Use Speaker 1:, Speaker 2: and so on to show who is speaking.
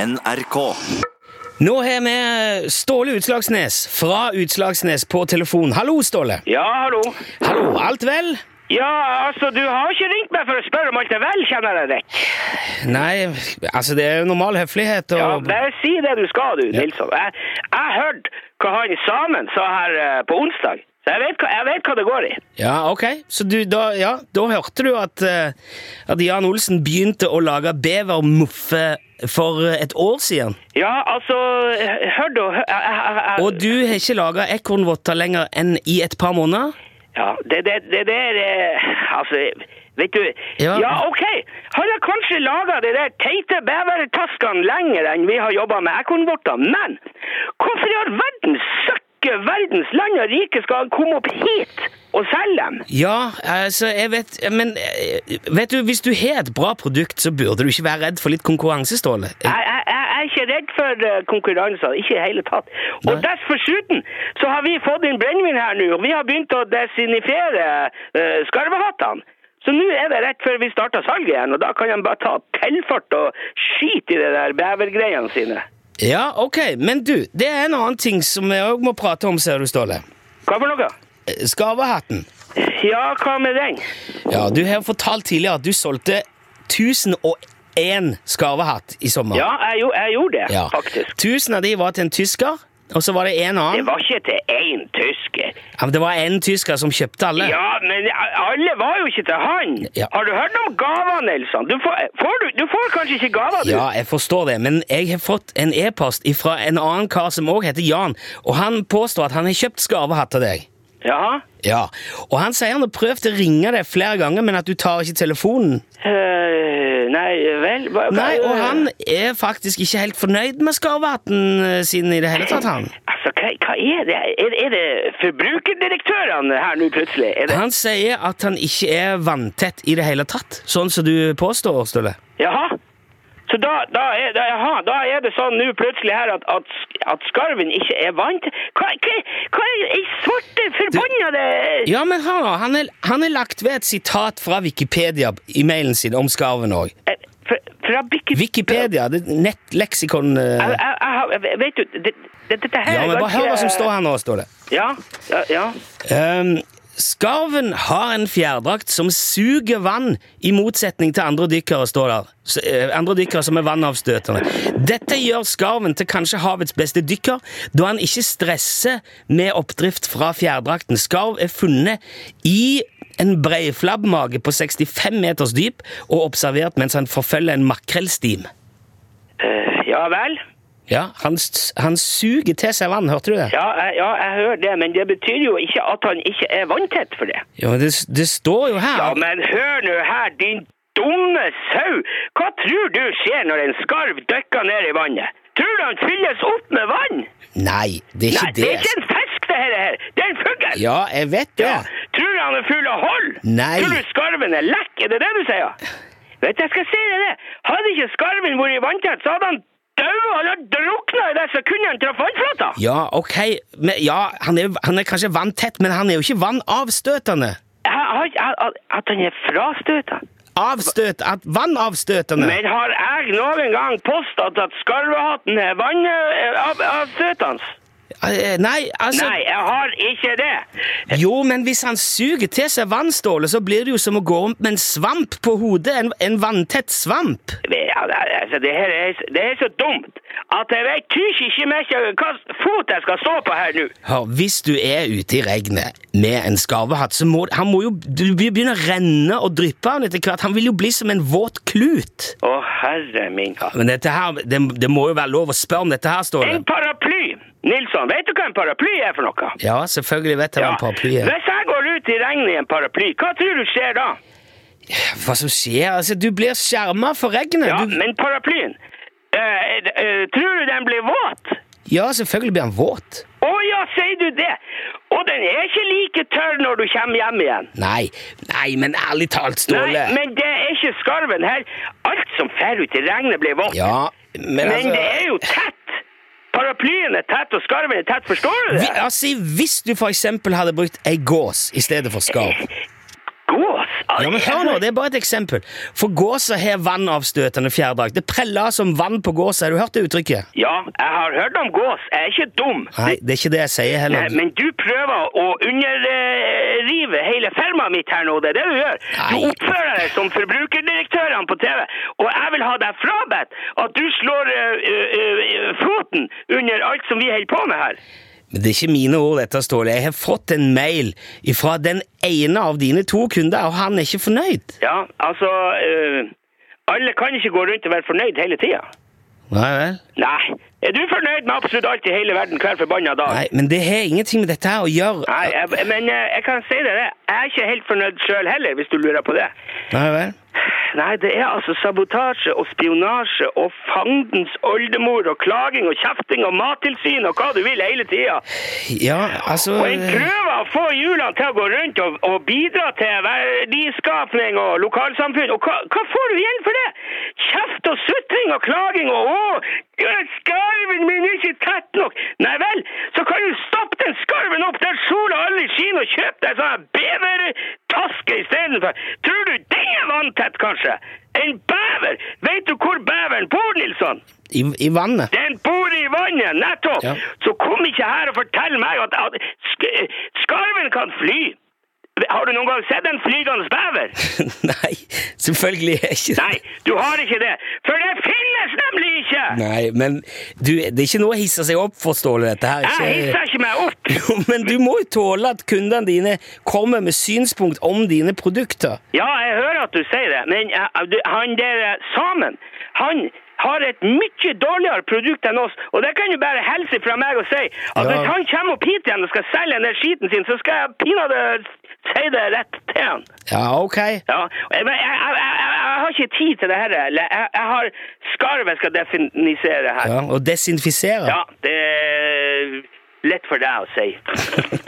Speaker 1: NRK.
Speaker 2: Nå har vi Ståle Utslagsnes fra Utslagsnes på telefon. Hallo, Ståle.
Speaker 3: Ja, hallo.
Speaker 2: Hallo, alt vel?
Speaker 3: Ja, altså, du har ikke ringt meg for å spørre om alt er vel, kjenner jeg deg.
Speaker 2: Nei, altså det er jo normal høflighet og
Speaker 3: Ja, bare si det du skal, du, Nilsson. Jeg, jeg hørte hva han Samen sa her eh, på onsdag, så jeg vet, hva, jeg vet hva det går i.
Speaker 2: Ja, ok. Så du, da, ja, da hørte du at, eh, at Jan Olsen begynte å lage bevermuffe for et år siden.
Speaker 3: Ja, altså, hø- hør du, hø- jeg- jeg- jeg-
Speaker 2: Og du har ikke laga ekornvotter lenger enn i et par måneder?
Speaker 3: Ja, det, det, det der eh, Altså, vet du
Speaker 2: Ja.
Speaker 3: Ja, OK! Han har kanskje laga de der teite bevertaskene lenger enn vi har jobba med ekornvorter, men hvorfor i all verden søkke verdens land og rike skal han komme opp hit og selge dem?
Speaker 2: Ja, altså, jeg vet Men eh, vet du, hvis du har et bra produkt, så burde du ikke være redd for litt konkurranse, Ståle.
Speaker 3: Jeg, jeg, jeg jeg er ikke redd for eh, konkurranser, ikke i hele tatt. Og
Speaker 2: Nei.
Speaker 3: dessuten så har vi fått inn brennevin her nå, og vi har begynt å desinifere eh, skarvehattene. Så nå er det rett før vi starter salget igjen, og da kan de bare ta tilfart og skite i de der bevergreiene sine.
Speaker 2: Ja, ok, men du, det er en annen ting som vi òg må prate om, ser du, Ståle.
Speaker 3: Hva for noe?
Speaker 2: Eh, Skarvehatten.
Speaker 3: Ja, hva med den?
Speaker 2: Ja, du har fortalt tidligere at du solgte 1001 skarvehatt i sommer.
Speaker 3: Ja, jeg, gjo- jeg gjorde det,
Speaker 2: Ja.
Speaker 3: faktisk.
Speaker 2: 1000 av de var til en tysker, og så var det en
Speaker 3: Det
Speaker 2: annen.
Speaker 3: var ikke til én tysker.
Speaker 2: Ja, men det var en tysker som kjøpte alle.
Speaker 3: Ja, men alle var jo ikke til han.
Speaker 2: Ja.
Speaker 3: Har du hørt om gaver, Nilsson? Du får, får du, du får kanskje ikke gaver, du?
Speaker 2: Ja, jeg forstår det, men jeg har fått en e-post fra en annen kar som òg heter Jan, og han påstår at han har kjøpt skarvehatt til deg.
Speaker 3: Jaha.
Speaker 2: Ja, Og han sier han har prøvd å ringe deg flere ganger, men at du tar ikke telefonen.
Speaker 3: Eh, nei vel hva, Eh, hva-
Speaker 2: Nei, og han er faktisk ikke helt fornøyd med skarvehatten eh, sin i det hele tatt, han.
Speaker 3: Altså, hva, hva er det? Er, er det forbrukerdirektørene her nå plutselig? Er det,
Speaker 2: Han sier at han ikke er vanntett i det hele tatt, sånn som du påstår, Ståle.
Speaker 3: jaha? Så da, da, er, da, jaha, da er det sånn nå plutselig her at, at, sk- at skarven ikke er vant? Hva, hva, hva er ei svarte forbannede
Speaker 2: Ja, men hør nå, han er, han er lagt ved et sitat fra Wikipedia i mailen sin om skarven òg.
Speaker 3: Eh, fra, fra Bikke-
Speaker 2: Wikipedia, det er nettleksikon eh.
Speaker 3: Jeg, jeg, jeg, har- vet du, det, det, dette her
Speaker 2: Ja, men
Speaker 3: er
Speaker 2: bare hør hva som står her nå, Ståle.
Speaker 3: Ja, ja, ja.
Speaker 2: Um, skarven har en fjærdrakt som suger vann, i motsetning til andre dykkere, står der. S- eh, Andre dykkere som er vannavstøtende. Dette gjør skarven til kanskje havets beste dykker, da han ikke stresser med oppdrift fra fjærdrakten. Skarv er funnet i en breiflabbmage på 65 meters dyp og observert mens han forfølger en makrellstim.
Speaker 3: Eh, ja vel?
Speaker 2: Ja, han, s- han suger til seg vann, hørte du det?
Speaker 3: Ja, jeg, ja, jeg hører det, men det betyr jo ikke at han ikke er vanntett for det.
Speaker 2: Jo, men det, s- det står jo her.
Speaker 3: Ja, men hør nå her, din dumme sau! Hva tror du skjer når en skarv dykker ned i vannet? Tror du han fylles opp med vann?
Speaker 2: Nei, det er ikke
Speaker 3: Nei, det er
Speaker 2: det.
Speaker 3: ikke en fisk, det her. det her. Det er en fugl!
Speaker 2: Ja, jeg vet det.
Speaker 3: Ja. Tror du han er full av hold?
Speaker 2: Nei.
Speaker 3: Tror du skarven er lekk? Er det det du sier? Vet du, jeg skal si deg det. Hadde ikke skarven vært vanntett, så hadde han daua. Han hadde drukna i det sekundet han traff vannflata.
Speaker 2: Ja, ok. Men, ja, han, er, han er kanskje vanntett, men han er jo ikke vannavstøtende.
Speaker 3: Jeg har ikke- jeg- at- At han er frastøta.
Speaker 2: Avstøt, at vannavstøtende.
Speaker 3: Men har jeg noen gang påstått at skarvehatten er eh, vannavstøtende?
Speaker 2: Eh, Nei, altså
Speaker 3: Nei, jeg har ikke det.
Speaker 2: Jo, men hvis han suger til seg vannstålet, så blir det jo som å gå rundt med en svamp på hodet. En, en vanntett svamp.
Speaker 3: Men, ja, det er- Altså, det her er, det er så dumt at jeg vet tysk ikke mer hva fot jeg skal stå på her nå.
Speaker 2: Hør, hvis du er ute i regnet med en skarvehatt, så må han må jo du begynne å renne og dryppe han etter hvert. Han vil jo bli som en våt klut.
Speaker 3: Å, herre min katt.
Speaker 2: Men dette her, det, det må jo være lov å spørre om dette her, Ståle.
Speaker 3: En paraply! Nilsson, vet du hva en paraply er for noe?
Speaker 2: Ja, selvfølgelig vet jeg hva en paraply er.
Speaker 3: Hvis jeg går ut i regnet i en paraply, hva tror du skjer da?
Speaker 2: Hva som skjer? Altså, du blir skjerma for regnet.
Speaker 3: Ja,
Speaker 2: du...
Speaker 3: men paraplyen eh, eh, Tror du den blir våt?
Speaker 2: ja selvfølgelig blir han våt.
Speaker 3: Å ja, sier du det? Og den er ikke like tørr når du kommer hjem igjen.
Speaker 2: Nei, nei, men ærlig talt, Ståle.
Speaker 3: Nei, men det er ikke skarven her. Alt som fer ut i regnet, blir vått.
Speaker 2: Ja, men,
Speaker 3: men
Speaker 2: altså...
Speaker 3: det er jo tett! Paraplyen er tett, og skarven er tett. Forstår du
Speaker 2: Vi,
Speaker 3: det?
Speaker 2: altså, hvis du for eksempel hadde brukt ei gås i stedet for skarv
Speaker 3: Gås?
Speaker 2: Ja, men hør nå, Det er bare et eksempel. For gåsa har vannavstøtende fjærdrakt. Det preller som vann på gåsa. Har du hørt det uttrykket?
Speaker 3: Ja, jeg har hørt om gås. Jeg er ikke dum.
Speaker 2: Nei, det er ikke det jeg sier
Speaker 3: Nei,
Speaker 2: heller.
Speaker 3: Eh, men du prøver å underrive hele firmaet mitt her nå. Det er det du gjør. Du
Speaker 2: Nei.
Speaker 3: oppfører deg som forbrukerdirektørene på TV. Og jeg vil ha deg frabedt at du slår eh, eh, eh, foten under alt som vi holder på med her.
Speaker 2: Men det er ikke mine ord, dette, Ståle. Jeg har fått en mail fra den ene av dine to kunder, og han er ikke fornøyd.
Speaker 3: Ja, altså eh, Alle kan ikke gå rundt og være fornøyd hele tida.
Speaker 2: Nei vel?
Speaker 3: Nei. Er du fornøyd med absolutt alt i hele verden hver forbanna dag?
Speaker 2: Nei, Men det har ingenting med dette her å gjøre.
Speaker 3: Nei, jeg, men eh, jeg kan si deg det. Jeg er ikke helt fornøyd sjøl heller, hvis du lurer på det.
Speaker 2: Nei vel?
Speaker 3: Nei, det er altså sabotasje og spionasje og fandens oldemor og klaging og kjefting og mattilsyn og hva du vil hele tida.
Speaker 2: Ja, altså
Speaker 3: Og en prøver å få hjulene til å gå rundt og, og bidra til verdiskapning og lokalsamfunn. Og hva, hva får du igjen for det? Kjeft og sutring og klaging og å, skarven min er ikke tett nok. Nei vel, så kan du stappe den skarven opp der sola aldri skinner og kjøpe deg sånn bevertaske istedenfor. Tror du den er vanntett, kanskje? En bever! Vet du hvor beveren bor, Nilsson?
Speaker 2: I, I vannet.
Speaker 3: Den bor i vannet, nettopp!
Speaker 2: Ja.
Speaker 3: Så kom ikke her og fortell meg at, at sk skarven kan fly! Har du noen gang sett en flygende bever?
Speaker 2: Nei, selvfølgelig er jeg ikke det.
Speaker 3: Nei, du har ikke det. For det finnes nemlig ikke!
Speaker 2: Nei, men du, det er ikke noe å hisse seg opp for, Ståle. Dette her
Speaker 3: Jeg hisser ikke meg opp.
Speaker 2: Jo, men du må jo tåle at kundene dine kommer med synspunkt om dine produkter.
Speaker 3: Ja, jeg hører at du sier det, men eh, du, han der eh, samen, han har et mye dårligere produkt enn oss, og det kan du bare helse fra meg og si. At
Speaker 2: Ja.
Speaker 3: hvis han kommer opp hit igjen og skal selge den der skiten sin, så skal jeg pinadø si det rett til han.
Speaker 2: Ja, ok.
Speaker 3: Ja, jeg, jeg, jeg, jeg, jeg har ikke tid til det her. eller Jeg, jeg har skarv jeg skal definisere her. Ja,
Speaker 2: Ja, og desinfisere.
Speaker 3: det er lett for deg å si.